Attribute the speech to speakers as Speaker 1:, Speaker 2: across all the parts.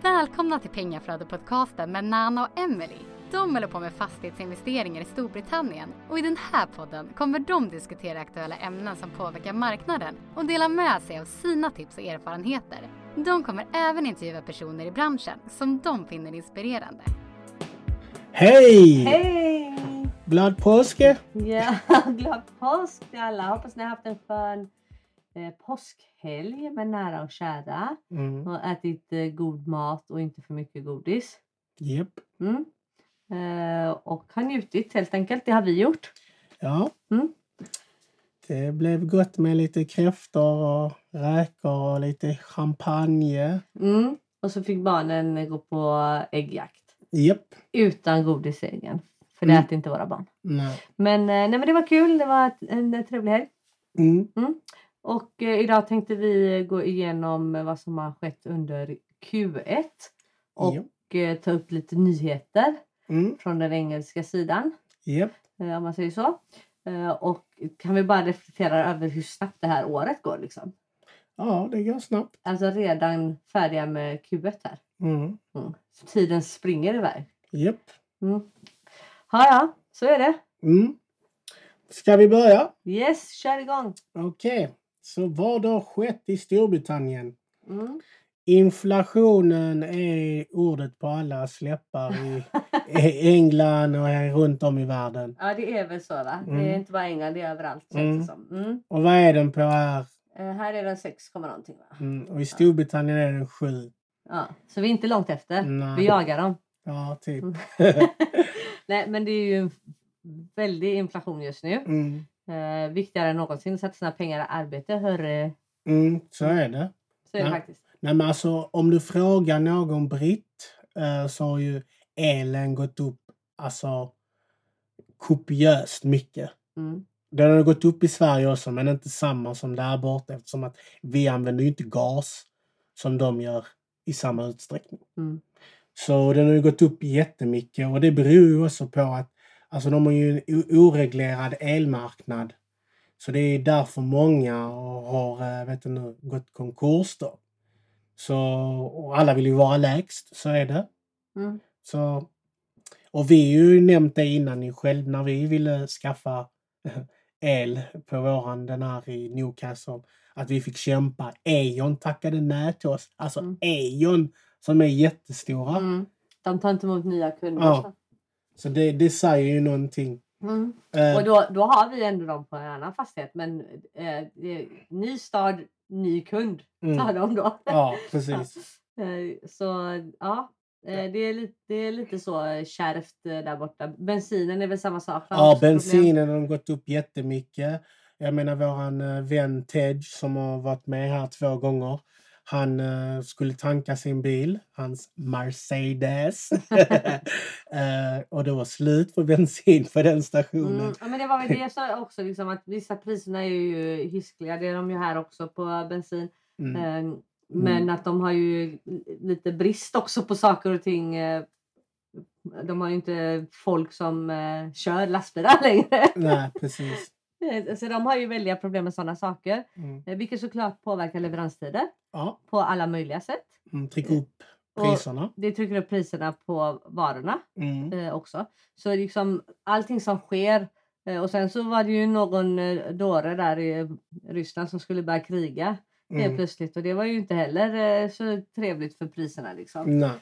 Speaker 1: Välkomna till Pengaflödet-podcasten med Nana och Emily. De håller på med fastighetsinvesteringar i Storbritannien och i den här podden kommer de diskutera aktuella ämnen som påverkar marknaden och dela med sig av sina tips och erfarenheter. De kommer även intervjua personer i branschen som de finner inspirerande.
Speaker 2: Hej!
Speaker 3: Hej!
Speaker 2: Glad påske!
Speaker 3: Ja, glad påsk till alla. Hoppas ni har haft en skön eh, påskhelg med nära och kära.
Speaker 2: Mm.
Speaker 3: Och ätit eh, god mat och inte för mycket godis.
Speaker 2: Japp.
Speaker 3: Mm. Eh, och har njutit helt enkelt. Det har vi gjort.
Speaker 2: Ja.
Speaker 3: Mm.
Speaker 2: Det blev gott med lite kräftor och räkor och lite champagne.
Speaker 3: Mm. Och så fick barnen eh, gå på äggjakt.
Speaker 2: Japp.
Speaker 3: Utan godis i äggen. För det
Speaker 2: Mm.
Speaker 3: äter inte våra barn.
Speaker 2: Nej.
Speaker 3: Men, eh, nej, men det var kul. Det var ett- en, en trevlig helg.
Speaker 2: Mm.
Speaker 3: Och eh, idag tänkte vi gå igenom eh, vad som har skett under Q1. Och
Speaker 2: Japp.
Speaker 3: eh, ta upp lite nyheter
Speaker 2: Mm.
Speaker 3: från den engelska sidan.
Speaker 2: Japp.
Speaker 3: eh, Om man säger så. Eh, Och kan vi bara reflektera över hur snabbt det här året går. Liksom.
Speaker 2: Ja, det går snabbt.
Speaker 3: Alltså redan färdiga med Q1 här.
Speaker 2: Mm.
Speaker 3: Mm. Så tiden springer iväg.
Speaker 2: Japp.
Speaker 3: Mm. Ja, ja, så är det.
Speaker 2: Mm. Ska vi börja?
Speaker 3: Yes, kör igång.
Speaker 2: Okej. Så vad har skett i Storbritannien?
Speaker 3: Mm.
Speaker 2: Inflationen är ordet på alla släppar i i England och här runt om i världen.
Speaker 3: Ja, det är väl så va? Det är
Speaker 2: Mm.
Speaker 3: inte bara England, det är överallt. känns
Speaker 2: Mm.
Speaker 3: det som. Mm.
Speaker 2: Och vad är den på här?
Speaker 3: Eh, Här är den 6, komma någonting va?
Speaker 2: Mm, och i Storbritannien är den sju.
Speaker 3: Ja, så vi är inte långt efter.
Speaker 2: Nej.
Speaker 3: Vi jagar dem.
Speaker 2: Ja, typ.
Speaker 3: Mm. Nej, men det är ju en väldig inflation just nu.
Speaker 2: Mm.
Speaker 3: Eh, viktigare än någonsin att sätta sina pengar i arbete. Hörru,
Speaker 2: Mm, så är det.
Speaker 3: så är det
Speaker 2: Ja.
Speaker 3: faktiskt.
Speaker 2: Nej, men alltså, om du frågar någon britt eh, så har ju elen gått upp alltså, kopiöst mycket.
Speaker 3: Mm.
Speaker 2: Den har gått upp i Sverige också, men inte samma som där borta eftersom att vi använder ju inte gas som de gör i samma utsträckning.
Speaker 3: Mm.
Speaker 2: Så den har ju gått upp jättemycket och det beror ju också på att alltså de har ju en o- oreglerad elmarknad. Så det är därför många har eh, vet du, nu, gått konkurs då. Så, och alla vill ju vara lägst, så är det.
Speaker 3: Mm.
Speaker 2: Så, och vi har ju nämnt det innan i själv när vi ville skaffa eh, el på våran den här i Newcastle. Att vi fick kämpa. Eon tackade nej till oss. Alltså
Speaker 3: Mm.
Speaker 2: Eon som är jättestora.
Speaker 3: Mm. De tar inte emot nya kunder.
Speaker 2: Ja. Så det, det säger ju någonting.
Speaker 3: Mm.
Speaker 2: Eh,
Speaker 3: Och då, då har vi ändå dem på en annan fastighet. Men eh, det är ny stad, ny kund tar
Speaker 2: mm.
Speaker 3: de då.
Speaker 2: Ja, precis.
Speaker 3: Eh, Så ja, eh, det är lite, det är lite så kärvt eh, där borta. Bensinen är väl samma sak? va?
Speaker 2: Ja,
Speaker 3: Också problem.
Speaker 2: bensinen har gått upp jättemycket. Jag menar våran eh, vän Ted som har varit med här två gånger. Han eh, skulle tanka sin bil, hans Mercedes. Eh, och det var slut på bensin för den stationen.
Speaker 3: Mm, ja, men det var väl det jag sa också, liksom, att vissa priserna är ju hiskliga. Det är de ju här också på bensin.
Speaker 2: Mm.
Speaker 3: Eh, Men att de har ju lite brist också på saker och ting. eh, De har ju inte folk som eh, kör lastbilar längre.
Speaker 2: Nej, precis.
Speaker 3: Eh, Så de har ju väldiga problem med sådana saker.
Speaker 2: Mm.
Speaker 3: eh, Vilket såklart påverkar leveranstider
Speaker 2: Ja,
Speaker 3: på alla möjliga sätt.
Speaker 2: mm, tryck upp
Speaker 3: Eh, Och
Speaker 2: priserna.
Speaker 3: det trycker upp priserna på varorna
Speaker 2: Mm.
Speaker 3: eh, också. Så liksom allting som sker. Eh, och sen så var det ju någon eh, dåre där i Ryssland som skulle börja kriga helt
Speaker 2: Mm.
Speaker 3: plötsligt och det var ju inte heller eh, så trevligt för priserna liksom.
Speaker 2: Nej.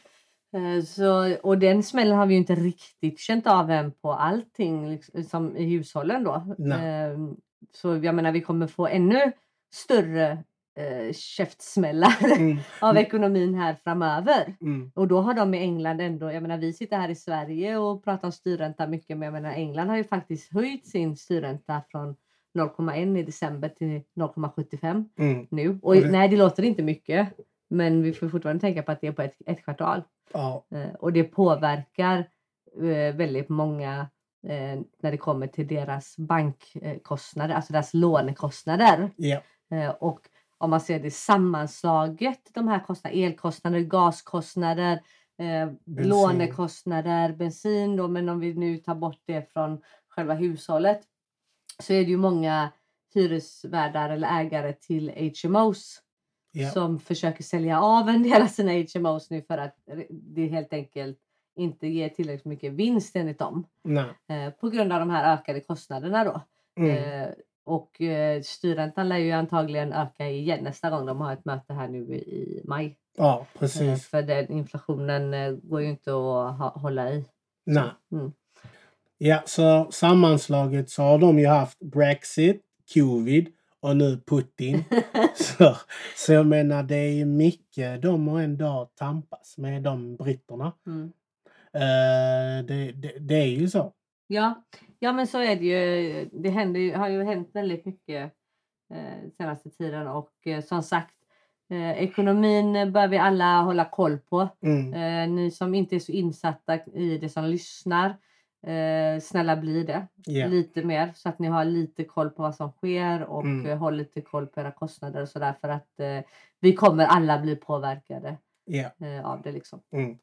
Speaker 3: Eh, så, och den smällen har vi ju inte riktigt känt av än på allting liksom, som i hushållen då.
Speaker 2: Nej.
Speaker 3: Eh, så jag menar vi kommer få ännu större eh, käftsmällar
Speaker 2: Mm.
Speaker 3: av ekonomin här framöver.
Speaker 2: Mm.
Speaker 3: Och då har de i England ändå, jag menar vi sitter här i Sverige och pratar om styrränta mycket, men jag menar England har ju faktiskt höjt sin styrränta från 0,1 i december till 0,75
Speaker 2: Mm.
Speaker 3: nu. Och
Speaker 2: Och det-
Speaker 3: nej, det låter inte mycket, men vi får fortfarande tänka på att det är på ett, ett kvartal.
Speaker 2: Ja,
Speaker 3: Eh, och det påverkar eh, väldigt många eh, när det kommer till deras bankkostnader, alltså deras lånekostnader.
Speaker 2: ja.
Speaker 3: Eh, Och om man ser det sammanslaget, de här kostnaderna, elkostnader, gaskostnader, eh,
Speaker 2: Bensin.
Speaker 3: lånekostnader, bensin då, men om vi nu tar bort det från själva hushållet så är det ju många hyresvärdar eller ägare till HMOs
Speaker 2: Ja.
Speaker 3: som försöker sälja av en del av sina HMOs nu för att det helt enkelt inte ger tillräckligt mycket vinst enligt dem
Speaker 2: Nej.
Speaker 3: eh, på grund av de här ökade kostnaderna då.
Speaker 2: Mm.
Speaker 3: Eh, och eh, styrräntan lär ju antagligen öka igen nästa gång de har ett möte här nu i i maj.
Speaker 2: Ja,
Speaker 3: Eh,
Speaker 2: precis.
Speaker 3: för den inflationen eh, går ju inte att ha, hålla i.
Speaker 2: Nej.
Speaker 3: Mm.
Speaker 2: Ja, så sammanslaget så har de ju haft Brexit, covid och nu Putin. så, så jag menar, det är ju mycket de har ändå tampas med, de britterna.
Speaker 3: Mm.
Speaker 2: Eh, det, det, det är ju så.
Speaker 3: Ja. ja, men så är det ju. Det händer, ju- har ju hänt väldigt mycket eh, senaste tiden och eh, som sagt eh, ekonomin bör vi alla hålla koll på.
Speaker 2: Mm.
Speaker 3: Eh, ni som inte är så insatta i det som lyssnar, eh, snälla bli det.
Speaker 2: Ja.
Speaker 3: lite mer så att ni har lite koll på vad som sker och
Speaker 2: Mm.
Speaker 3: eh, har lite koll på era kostnader och sådär för att eh, vi kommer alla bli påverkade
Speaker 2: Ja.
Speaker 3: eh, av det liksom.
Speaker 2: Mm.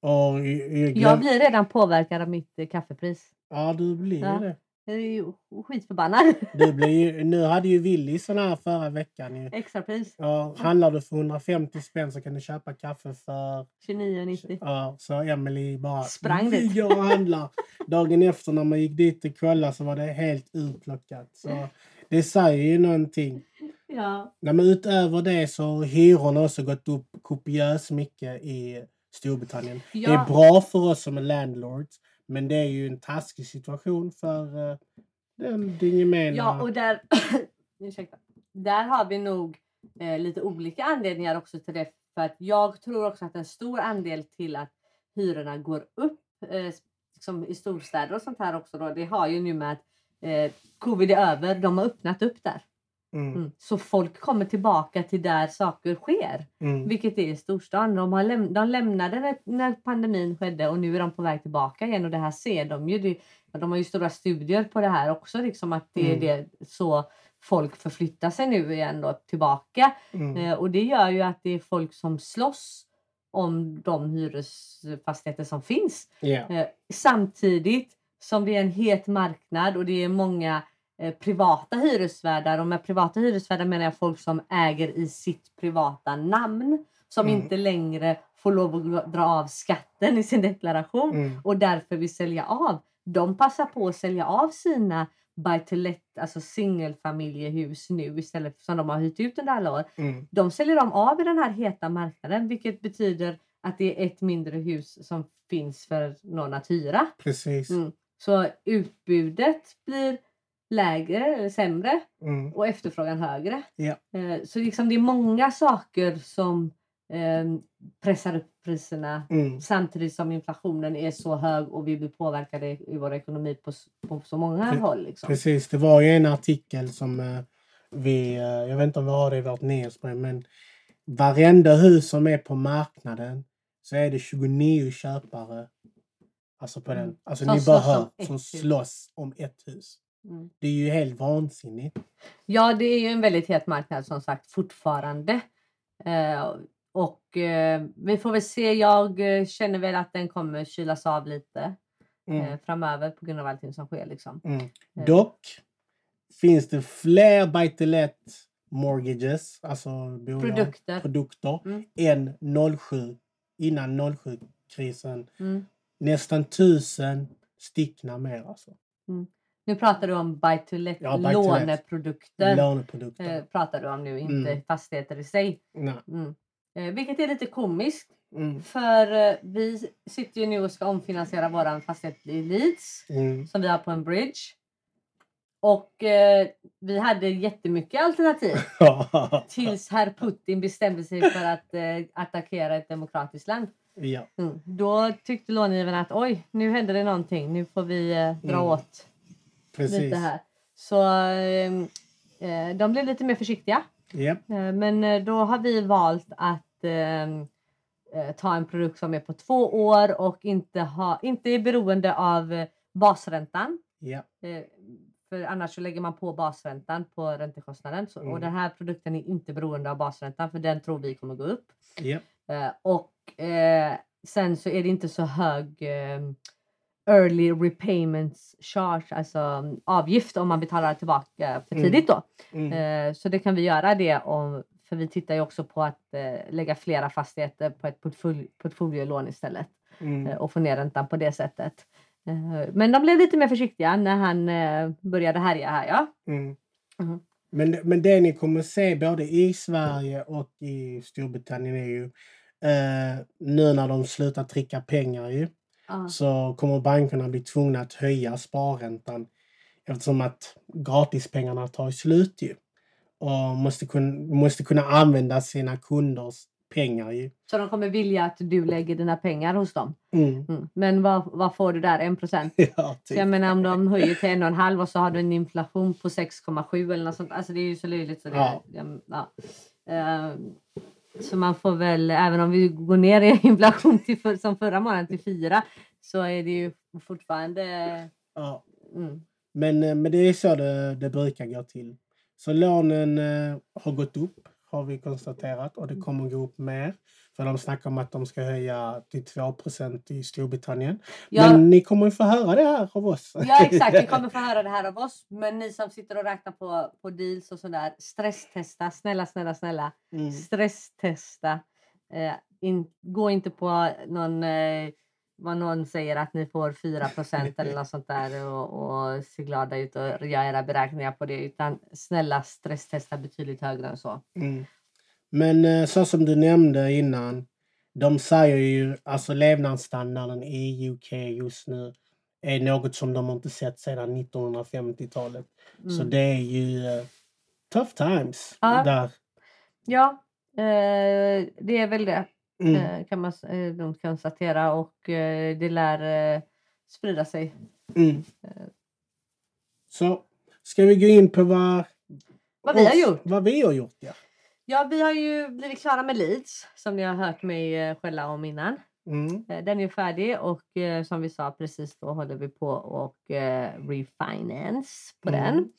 Speaker 2: Och jag, jag,
Speaker 3: Jag blir redan påverkad av mitt eh, kaffepris.
Speaker 2: Ja, du blir ju
Speaker 3: Ja.
Speaker 2: det.
Speaker 3: Jag är ju skitförbannad.
Speaker 2: Du blir ju, nu hade ju Willy sån här förra veckan. Ju.
Speaker 3: Extrapris
Speaker 2: Ja, handlar du för 150 spänn så kan du köpa kaffe för
Speaker 3: 29,90.
Speaker 2: Ja, så Emily bara "Mm,
Speaker 3: Sprang dit.
Speaker 2: "Vi går och handlar. Dagen efter när man gick dit och kollade så var det helt utplockat. Så det säger ju någonting.
Speaker 3: Ja.
Speaker 2: Nej, men utöver det så har hyrorna också gått upp kopiöst mycket i Storbritannien.
Speaker 3: Ja.
Speaker 2: Det är bra för oss som är landlords, men det är ju en taskig situation för eh, den, den gemena...
Speaker 3: ja, och där, ursäkta, där har vi nog eh, lite olika anledningar också till det. För att jag tror också att en stor andel till att hyrorna går upp eh, liksom i storstäder och sånt här också då, det har ju nu med att eh, covid är över, de har öppnat upp där.
Speaker 2: mm,
Speaker 3: Mm. Så folk kommer tillbaka till där saker sker,
Speaker 2: mm,
Speaker 3: vilket är i storstan. De, har läm- de lämnade när, när pandemin skedde och nu är de på väg tillbaka igen och det här ser de ju. Det, de har ju stora studier på det här också, liksom att det är det, så folk förflyttar sig nu igen då, tillbaka.
Speaker 2: mm,
Speaker 3: Eh, Och det gör ju att det är folk som slåss om de hyresfastigheter som finns.
Speaker 2: ja,
Speaker 3: Eh, Samtidigt som det är en het marknad och det är många eh, privata hyresvärdar och med privata hyresvärdar menar jag folk som äger i sitt privata namn som
Speaker 2: Mm.
Speaker 3: inte längre får lov att dra av skatten i sin deklaration
Speaker 2: mm,
Speaker 3: och därför vill sälja av. De passar på att sälja av sina buy to let, alltså singelfamiljehus nu istället för som de har hyrt ut under alla år
Speaker 2: mm,
Speaker 3: de säljer de av i den här heta marknaden vilket betyder att det är ett mindre hus som finns för någon att hyra.
Speaker 2: precis.
Speaker 3: Mm. Så utbudet blir lägre eller sämre
Speaker 2: Mm,
Speaker 3: och efterfrågan högre.
Speaker 2: Ja.
Speaker 3: Eh, Så liksom det är många saker som eh, pressar upp priserna
Speaker 2: mm,
Speaker 3: samtidigt som inflationen är så hög och vi blir påverkade i vår ekonomi på, s- på så många
Speaker 2: Pre-
Speaker 3: håll. Liksom.
Speaker 2: Precis, det var ju en artikel som eh, vi, eh, jag vet inte om vi har det i vårt nyhetsbrev, men varenda hus som är på marknaden så är det 29 köpare alltså på den.
Speaker 3: Mm.
Speaker 2: Alltså
Speaker 3: Som
Speaker 2: ni bara
Speaker 3: slåss om
Speaker 2: hör,
Speaker 3: ett
Speaker 2: som
Speaker 3: hus.
Speaker 2: slåss om ett hus.
Speaker 3: Mm.
Speaker 2: Det är ju helt vansinnigt.
Speaker 3: Ja, det är ju en väldigt het marknad som sagt fortfarande. Eh, och eh, vi får väl se. Jag eh, känner väl att den kommer kylas av lite
Speaker 2: Mm.
Speaker 3: eh, framöver på grund av allting som sker. Liksom.
Speaker 2: Mm.
Speaker 3: Eh,
Speaker 2: Dock finns det fler buy to let mortgages, alltså bolag,
Speaker 3: Produkter.
Speaker 2: produkter,
Speaker 3: Mm.
Speaker 2: än 07, innan 07-krisen.
Speaker 3: Mm.
Speaker 2: Nästan tusen styckna mer alltså.
Speaker 3: Nu pratar du om buy to let
Speaker 2: Ja, buy to let.
Speaker 3: låneprodukter.
Speaker 2: Låneprodukter.
Speaker 3: eh, pratar du om nu, inte
Speaker 2: Mm.
Speaker 3: fastigheter i sig.
Speaker 2: Nej.
Speaker 3: Mm. Eh, vilket är lite komiskt.
Speaker 2: Mm.
Speaker 3: För eh, vi sitter ju nu och ska omfinansiera våran fastighet i Leeds.
Speaker 2: Mm.
Speaker 3: som vi har på en bridge. Och eh, vi hade jättemycket alternativ tills herr Putin bestämde sig för att eh, attackera ett demokratiskt land.
Speaker 2: ja.
Speaker 3: Mm. Då tyckte långivarna att oj, nu hände det någonting. Nu får vi eh, dra
Speaker 2: Mm,
Speaker 3: åt
Speaker 2: Precis.
Speaker 3: lite här. Så ehm, eh, de blev lite mer försiktiga.
Speaker 2: Japp.
Speaker 3: Eh, Men eh, då har vi valt att ehm, eh, ta en produkt som är på två år och inte, ha, inte är beroende av eh, basräntan.
Speaker 2: Ja.
Speaker 3: Eh, För annars så lägger man på basräntan på räntekostnaden. Så,
Speaker 2: Mm.
Speaker 3: Och den här produkten är inte beroende av basräntan för den tror vi kommer gå upp.
Speaker 2: Japp.
Speaker 3: Eh, och eh, sen så är det inte så hög eh, early repayments charge, alltså mm, avgift om man betalar tillbaka för
Speaker 2: Mm.
Speaker 3: tidigt då.
Speaker 2: Mm.
Speaker 3: Eh, så det kan vi göra det om, för För vi tittar ju också på att eh, lägga flera fastigheter på ett portfölj, portfoliolån istället eh,
Speaker 2: Mm.
Speaker 3: och få ner räntan på det sättet. Eh, Men de blev lite mer försiktiga när han eh, började härja här. Ja.
Speaker 2: Mm.
Speaker 3: Mhm.
Speaker 2: Men, men det ni kommer se både i Sverige och i Storbritannien är ju eh, nu när de slutar trycka pengar ju,
Speaker 3: Ja.
Speaker 2: så kommer bankerna bli tvungna att höja sparräntan eftersom att gratispengarna tar slut ju. Och måste kunna, måste kunna använda sina kunders pengar ju.
Speaker 3: Så de kommer vilja att du lägger dina pengar hos dem.
Speaker 2: Mm.
Speaker 3: Mm. Men vad, vad får du där? 1 procent?
Speaker 2: Ja,
Speaker 3: Så
Speaker 2: typ.
Speaker 3: jag menar om de höjer till en och en halv och så har du en inflation på 6,7 eller något sånt. Alltså det är ju så löjligt. Så, det,
Speaker 2: Ja.
Speaker 3: jag- ja. Eh, så man får väl, även om vi går ner i inflation till för, som förra månaden till 4 så är det ju fortfarande...
Speaker 2: Ja.
Speaker 3: Mm,
Speaker 2: Men, eh, men det är så det, det brukar gå till. Så lånen eh, har gått upp, har vi konstaterat, och det kommer gå upp mer. För de snackar om att de ska höja till 2 i Storbritannien.
Speaker 3: Ja.
Speaker 2: Men ni kommer ju få höra det här av oss.
Speaker 3: ja exakt, ni kommer få höra det här av oss. Men ni som sitter och räknar på, på deals och sådär, stresstesta. Snälla, snälla, snälla.
Speaker 2: Mm.
Speaker 3: Stresstesta. Eh, in, gå inte på någon, eh, vad någon säger att ni får 4 eller något sånt där och, och se glada ut och göra era beräkningar på det. Utan snälla stresstesta betydligt högre än så.
Speaker 2: Mm. Men eh, så som du nämnde innan, de säger ju alltså levnadsstandarden i UK just nu är något som de inte sett sedan 1950-talet. Så
Speaker 3: Mm.
Speaker 2: det är ju eh, tough times
Speaker 3: Ja.
Speaker 2: där.
Speaker 3: Ja, eh, det är väl det
Speaker 2: Mm.
Speaker 3: eh, kan man s- eh, lugnt konstatera och eh, det lär eh, sprida sig.
Speaker 2: Mm.
Speaker 3: eh.
Speaker 2: Så ska vi gå in på vad,
Speaker 3: Vad vi har
Speaker 2: oss-
Speaker 3: gjort.
Speaker 2: Vad vi har gjort, ja.
Speaker 3: Ja, vi har ju blivit klara med Leeds som ni har hört mig eh, skälla om innan.
Speaker 2: Mm.
Speaker 3: Eh, Den är färdig och eh, som vi sa precis då håller vi på och eh, refinance på
Speaker 2: Mm.
Speaker 3: den.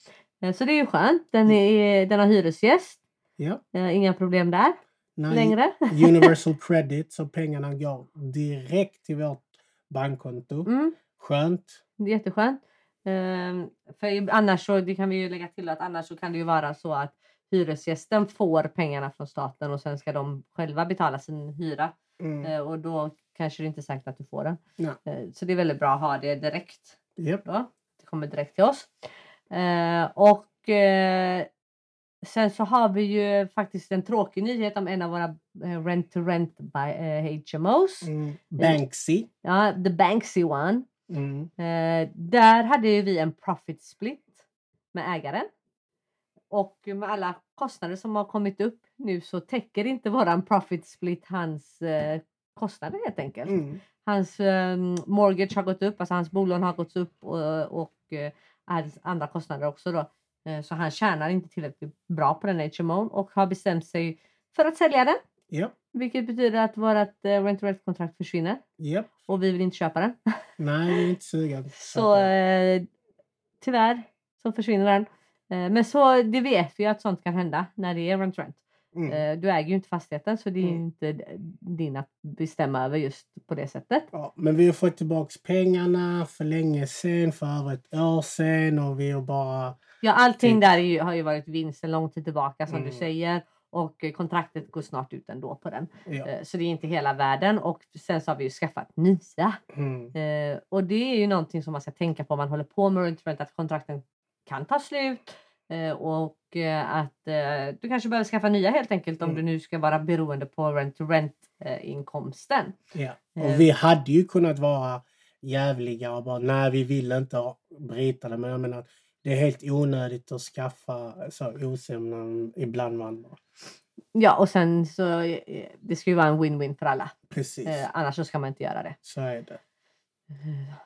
Speaker 3: Eh, Så det är ju skönt. Den, är, den har hyresgäst.
Speaker 2: ja.
Speaker 3: Eh, Inga problem där
Speaker 2: Nej,
Speaker 3: längre.
Speaker 2: Universal credit, så pengarna går direkt till vårt bankkonto.
Speaker 3: Mm,
Speaker 2: Skönt.
Speaker 3: det är jätteskönt. Eh, För i- annars så, det kan vi ju lägga till att annars så kan det ju vara så att hyresgästen får pengarna från staten och sen ska de själva betala sin hyra.
Speaker 2: Mm.
Speaker 3: Eh, Och då kanske det inte är säkert att du får den.
Speaker 2: Ja.
Speaker 3: Eh, Så det är väldigt bra att ha det direkt.
Speaker 2: Japp.
Speaker 3: då. Det kommer direkt till oss. Eh, och eh, sen så har vi ju faktiskt en tråkig nyhet om en av våra eh, rent to rent by, eh, HMOs.
Speaker 2: Mm. Banksy.
Speaker 3: Ja, the Banksy one.
Speaker 2: Mm.
Speaker 3: Eh, där hade ju vi en profit split med ägaren. Och med alla kostnader som har kommit upp nu så täcker inte våran profit split hans eh, kostnader helt enkelt.
Speaker 2: Mm.
Speaker 3: Hans eh, mortgage har gått upp, alltså hans bolån har gått upp och, och eh, hans andra kostnader också då. Eh, Så han tjänar inte tillräckligt bra på den HMO'n och har bestämt sig för att sälja den.
Speaker 2: Japp.
Speaker 3: Vilket betyder att vårt rent to rent kontrakt försvinner
Speaker 2: Japp.
Speaker 3: och vi vill inte köpa den.
Speaker 2: Nej, vi är inte sugna. på
Speaker 3: Så
Speaker 2: det.
Speaker 3: eh, tyvärr så försvinner den. Eh, men så det vet vi ju att sånt kan hända när det är rent to rent.
Speaker 2: Mm.
Speaker 3: Eh, du äger ju inte fastigheten så det är ju
Speaker 2: Mm.
Speaker 3: inte din att bestämma över just på det sättet.
Speaker 2: Ja, men vi har fått tillbaka pengarna för länge sedan, för över ett år sedan och vi har bara...
Speaker 3: Ja, allting
Speaker 2: Typ.
Speaker 3: där är ju, har ju varit vinst en lång tid tillbaka som du
Speaker 2: Mm.
Speaker 3: säger och eh, kontraktet går snart ut ändå på den.
Speaker 2: Ja.
Speaker 3: Eh, Så det är inte hela världen och sen så har vi ju skaffat nya.
Speaker 2: Mm.
Speaker 3: Eh, Och det är ju någonting som man ska tänka på om man håller på med rent att kontrakten kan ta slut eh, och eh, att eh, du kanske behöver skaffa nya helt enkelt om
Speaker 2: Mm.
Speaker 3: du nu ska vara beroende på eh, rent-to-rent-inkomsten.
Speaker 2: Ja,
Speaker 3: Eh.
Speaker 2: och vi hade ju kunnat vara jävliga och bara nej, vi vill inte ha- bryta det. Men jag menar, det är helt onödigt att skaffa så osämnan ibland man.
Speaker 3: Ja, och sen så eh, det ska ju vara en win-win för alla.
Speaker 2: Precis,
Speaker 3: Eh, Annars så ska man inte göra det.
Speaker 2: så är det.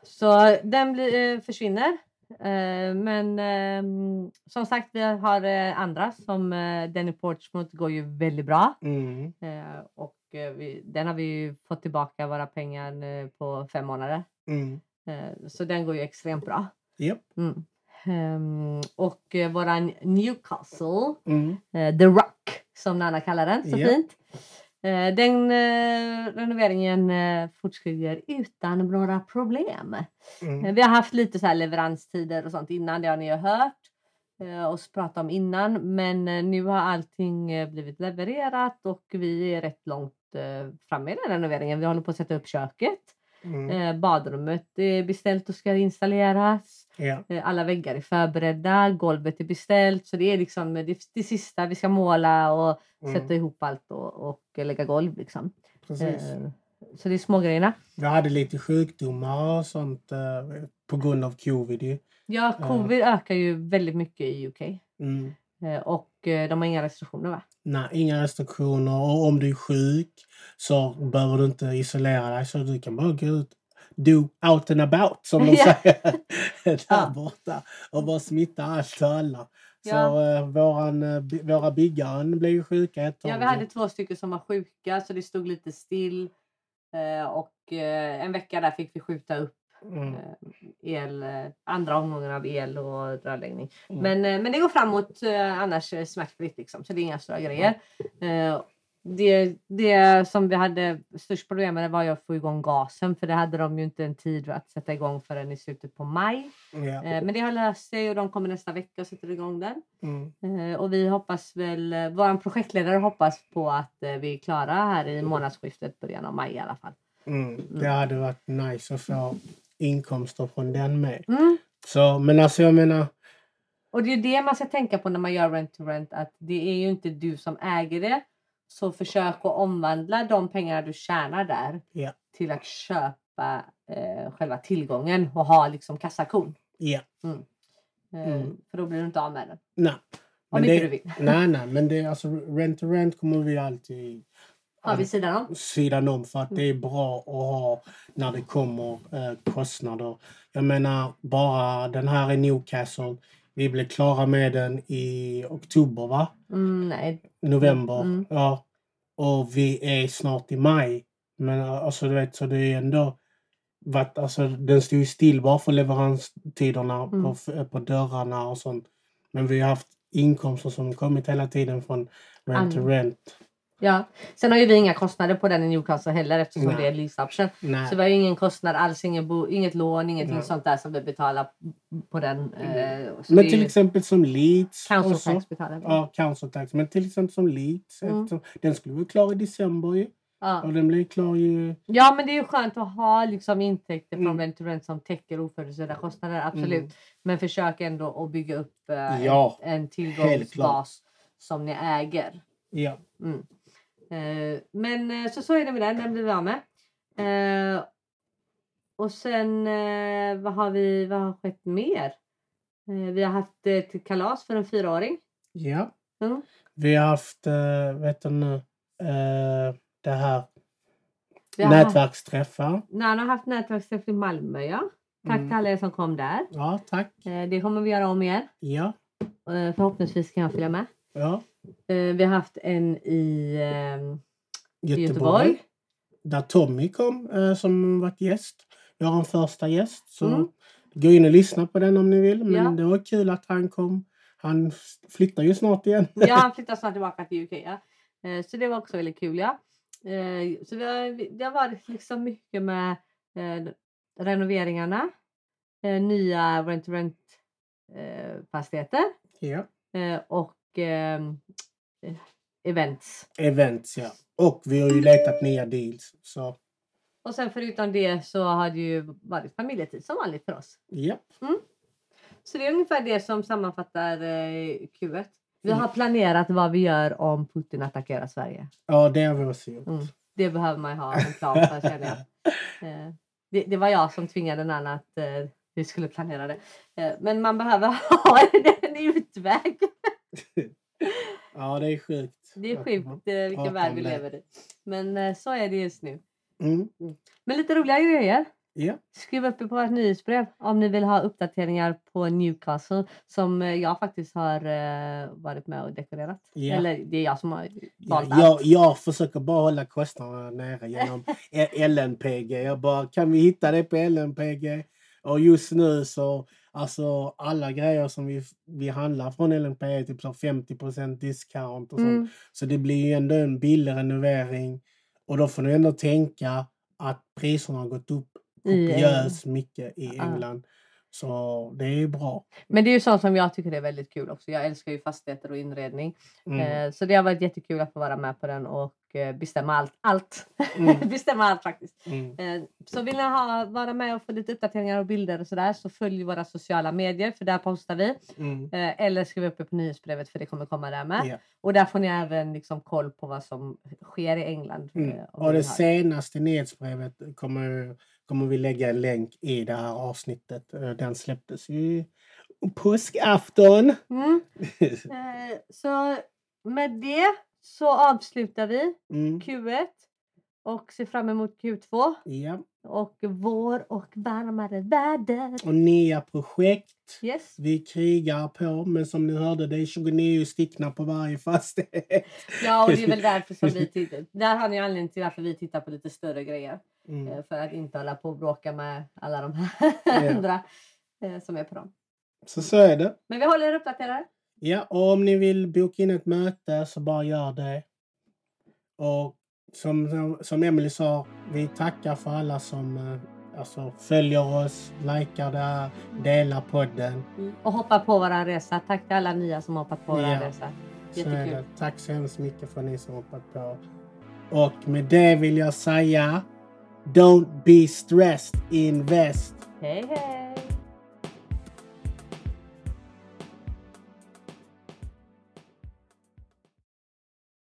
Speaker 3: Så den blir, eh, försvinner. Eh, Men ehm, som sagt, vi har eh, andra som eh, Denny Portsmouth går ju väldigt bra.
Speaker 2: Mm.
Speaker 3: Eh, Och eh, vi, den har vi ju fått tillbaka våra pengar nu på fem månader.
Speaker 2: Mm.
Speaker 3: Eh, Så den går ju extremt bra.
Speaker 2: Japp.
Speaker 3: Mm. Ehm, Och eh, våran Newcastle
Speaker 2: Mm.
Speaker 3: Eh, The Rock som Nanna kallar den så
Speaker 2: Ja.
Speaker 3: fint. Eh, Den eh, renoveringen eh, fortskrider utan några problem.
Speaker 2: Mm.
Speaker 3: Eh, Vi har haft lite så här leveranstider och sånt innan, det har ni ju hört. eh, oss prata om innan. Men eh, nu har allting eh, blivit levererat och vi är rätt långt eh, framme i den renoveringen. Vi håller på att sätta upp köket.
Speaker 2: Mm.
Speaker 3: Eh, badrummet är beställt och ska installeras.
Speaker 2: Ja.
Speaker 3: Eh, Alla väggar är förberedda, golvet är beställt. Så det är liksom eh, det, det sista vi ska måla och sätta
Speaker 2: Mm.
Speaker 3: ihop allt och, och lägga golv. Liksom.
Speaker 2: Precis.
Speaker 3: Eh, Så det är smågrejerna.
Speaker 2: Vi hade lite sjukdomar och sånt eh, på grund av covid ju.
Speaker 3: Ja,
Speaker 2: Ja.
Speaker 3: covid ökar ju väldigt mycket i UK.
Speaker 2: Mm.
Speaker 3: Eh, Och eh, de har inga restriktioner va?
Speaker 2: Nej, inga restriktioner och om du är sjuk så behöver du inte isolera dig så du kan bara gå ut. Do out and about som de
Speaker 3: Ja.
Speaker 2: säger där
Speaker 3: Ja.
Speaker 2: borta och bara smitta allt och alla. Så
Speaker 3: Ja.
Speaker 2: eh, våran, eh, bi- våra byggaren blev ju sjuka ett tag.
Speaker 3: Ja, vi hade två stycken som var sjuka så det stod lite still. Eh, Och eh, en vecka där fick vi skjuta upp
Speaker 2: Mm.
Speaker 3: el, eh, andra omgången av el och rörläggning.
Speaker 2: Mm.
Speaker 3: Men, eh, men det går framåt eh, annars eh, smärtfritt liksom, så det är inga stora grejer. Eh, Det, det som vi hade störst problem med var ju att få igång gasen för det hade de ju inte en tid att sätta igång förrän i slutet på maj.
Speaker 2: Ja.
Speaker 3: Eh, Men det har löst sig och de kommer nästa vecka och sätter igång den.
Speaker 2: Mm.
Speaker 3: Eh, Och vi hoppas väl, eh, vår projektledare hoppas på att eh, vi är klara här i månadsskiftet, början av maj i alla fall.
Speaker 2: Mm. Det hade varit nice att få inkomster från den med.
Speaker 3: Mm.
Speaker 2: Så, men alltså jag menar,
Speaker 3: Och det är det man ska tänka på när man gör rent to rent att det är ju inte du som äger det. Så försök att omvandla de pengar du tjänar där
Speaker 2: Ja.
Speaker 3: till att köpa eh, själva tillgången och ha liksom kassakon.
Speaker 2: ja.
Speaker 3: Eh,
Speaker 2: Mm.
Speaker 3: För då blir du inte av med den.
Speaker 2: Nej.
Speaker 3: Om
Speaker 2: Men
Speaker 3: inte
Speaker 2: det-
Speaker 3: du vill.
Speaker 2: Nej, nej, men det, alltså, rent to rent kommer vi alltid
Speaker 3: Har vi sidan om.
Speaker 2: sidan om för att det är bra att ha när det kommer eh, kostnader. Jag menar bara den här i Newcastle. Vi blev klara med den i oktober, va?
Speaker 3: Mm, nej.
Speaker 2: November.
Speaker 3: Mm.
Speaker 2: Ja. Och vi är snart i maj. Men eh, alltså du vet, så det är ändå varit, alltså, den stod ju still bara för leveranstiderna
Speaker 3: Mm.
Speaker 2: på, f- eh, på dörrarna och sånt. Men vi har haft inkomster som kommit hela tiden från rent to
Speaker 3: An-
Speaker 2: rent.
Speaker 3: Ja. Sen har ju vi inga kostnader på den i Newcastle heller eftersom
Speaker 2: Nej.
Speaker 3: det är lease option.
Speaker 2: Nej.
Speaker 3: Så vi har ju ingen kostnad alls, ingen bo, inget lån, ingenting
Speaker 2: Nej. Mm.
Speaker 3: sånt där som vi betalar på den. Eh, så
Speaker 2: Men
Speaker 3: det
Speaker 2: till
Speaker 3: är ju
Speaker 2: exempel som Leeds.
Speaker 3: council
Speaker 2: och så-
Speaker 3: tax betalar vi.
Speaker 2: Ja, council tax. Men till exempel som Leeds.
Speaker 3: Mm.
Speaker 2: Eftersom, den skulle vara klar i december ju.
Speaker 3: Ja.
Speaker 2: Och den blir klar ju...
Speaker 3: Ja, men det är ju skönt att ha liksom intäkter från
Speaker 2: Mm.
Speaker 3: rent to rent som täcker oförutsedda kostnader. Absolut.
Speaker 2: Mm.
Speaker 3: Men försök ändå att bygga upp eh,
Speaker 2: Ja,
Speaker 3: en, en
Speaker 2: helt klart.
Speaker 3: tillgångsbas som ni äger.
Speaker 2: Ja.
Speaker 3: Mm. Eh, men eh, så, så är det med den. Den blir vi av med. Eh, och sen eh, vad har vi? Vad har skett mer? Eh, vi har haft ett kalas för en fyraåring.
Speaker 2: ja.
Speaker 3: Mm.
Speaker 2: Vi har haft, eh, vet du nu, eh, det här
Speaker 3: Vi har haft,
Speaker 2: nätverksträffar.
Speaker 3: Nej, han har haft nätverksträff i Malmö. Ja. Tack
Speaker 2: Mm.
Speaker 3: till alla er som kom där.
Speaker 2: Ja, tack.
Speaker 3: Eh, det kommer vi göra om igen.
Speaker 2: Ja.
Speaker 3: Eh, Förhoppningsvis kan jag följa med.
Speaker 2: ja.
Speaker 3: Eh, Vi har haft en i ehm,
Speaker 2: Göteborg.
Speaker 3: Göteborg.
Speaker 2: Där Tommy kom eh, som varit gäst. Jag har en första gäst. Så
Speaker 3: Mm.
Speaker 2: gå in och lyssna på den om ni vill. Men
Speaker 3: Ja.
Speaker 2: det var kul att han kom. Han flyttar ju snart igen.
Speaker 3: Ja, han flyttar snart tillbaka till UK. Ja. Eh, Så det var också väldigt kul. Ja. Eh, Så vi har, vi- det har varit liksom mycket med eh, renoveringarna, eh, nya rent-to-rent-fastigheter
Speaker 2: Ja.
Speaker 3: Eh, och ehm, eh, events.
Speaker 2: Events, ja. Och vi har ju letat nya deals. Så
Speaker 3: Och sen förutom det så har det ju varit familjetid som vanligt för oss.
Speaker 2: ja.
Speaker 3: Så det är ungefär det som sammanfattar eh, Q1. Vi
Speaker 2: Mm.
Speaker 3: har planerat vad vi gör om Putin attackerar Sverige.
Speaker 2: Ja, det har vi också gjort.
Speaker 3: Mm. Det behöver man ju ha en plan för känner jag. Eh, det, det var jag som tvingade en annan att eh, vi skulle planera det. Eh, men man behöver ha en utväg.
Speaker 2: Ja, det är sjukt.
Speaker 3: Det är sjukt eh,
Speaker 2: Prata
Speaker 3: vilken värld
Speaker 2: om
Speaker 3: vi
Speaker 2: det.
Speaker 3: lever i. Men eh, så är det just nu.
Speaker 2: Mm.
Speaker 3: Men lite roliga grejer.
Speaker 2: Ja.
Speaker 3: Skriv upp er på vårt nyhetsbrev om ni vill ha uppdateringar på Newcastle som eh, jag faktiskt har eh, varit med och dekorerat.
Speaker 2: Ja.
Speaker 3: Eller det är jag som har liksom-
Speaker 2: Ja,
Speaker 3: valt allt.
Speaker 2: jag, jag försöker bara hålla kostnaderna nere genom E- LNPG. Jag bara, kan vi hitta det på LNPG? Och just nu så, alltså alla grejer som vi, vi handlar från LNPG är typ så 50 discount och sånt.
Speaker 3: Mm.
Speaker 2: Så det blir ju ändå en billig renovering. Och då får ni ändå tänka att priserna har gått upp
Speaker 3: I, eh,
Speaker 2: kopiöst mycket i
Speaker 3: Ja.
Speaker 2: England. Så det är ju bra.
Speaker 3: Men det är ju sånt som jag tycker är väldigt kul också. Jag älskar ju fastigheter och inredning.
Speaker 2: Mm.
Speaker 3: Eh, Så det har varit jättekul att få vara med på den och eh, bestämma allt. Allt!
Speaker 2: Mm.
Speaker 3: bestämma allt faktiskt.
Speaker 2: Mm.
Speaker 3: Eh, Så vill ni ha, vara med och få lite uppdateringar och bilder och sådär så följ våra sociala medier för där postar vi.
Speaker 2: Mm.
Speaker 3: Eh, Eller skriv upp er på nyhetsbrevet för det kommer komma där med.
Speaker 2: Ja.
Speaker 3: Och där får ni även liksom koll på vad som sker i England. eh,
Speaker 2: Mm.
Speaker 3: om
Speaker 2: Och
Speaker 3: ni
Speaker 2: det
Speaker 3: har-
Speaker 2: senaste nyhetsbrevet kommer, kommer vi lägga en länk i det här avsnittet. Eh, Den släpptes ju påskafton.
Speaker 3: Mm. Eh, Så med det så avslutar vi
Speaker 2: Mm.
Speaker 3: Q1 och ser fram emot Q2
Speaker 2: Ja.
Speaker 3: och vår och varmare väder.
Speaker 2: Och nya projekt.
Speaker 3: Yes.
Speaker 2: Vi krigar på, men som ni hörde, det är 29 stickna på varje fastighet.
Speaker 3: Ja, och det är väl därför som vi tittar. Där har ni anledningen till varför vi tittar på lite större grejer.
Speaker 2: Mm.
Speaker 3: Eh, För att inte hålla på och bråka med alla de här
Speaker 2: Ja.
Speaker 3: andra eh, som är på dem.
Speaker 2: Så så är det.
Speaker 3: Men vi håller er uppdaterade.
Speaker 2: Ja, och om ni vill boka in ett möte så bara gör det. Och som, som- som Emily sa, vi tackar för alla som eh, alltså, följer oss, likar det här, delar podden.
Speaker 3: Och hoppa på våran resa. Tack till alla nya som hoppat på våran
Speaker 2: Ja.
Speaker 3: resa.
Speaker 2: Så är
Speaker 3: Jättekul.
Speaker 2: det. Tack så hemskt mycket för ni som hoppat på. Och med det vill jag säga, don't be stressed, invest.
Speaker 3: Hej hej!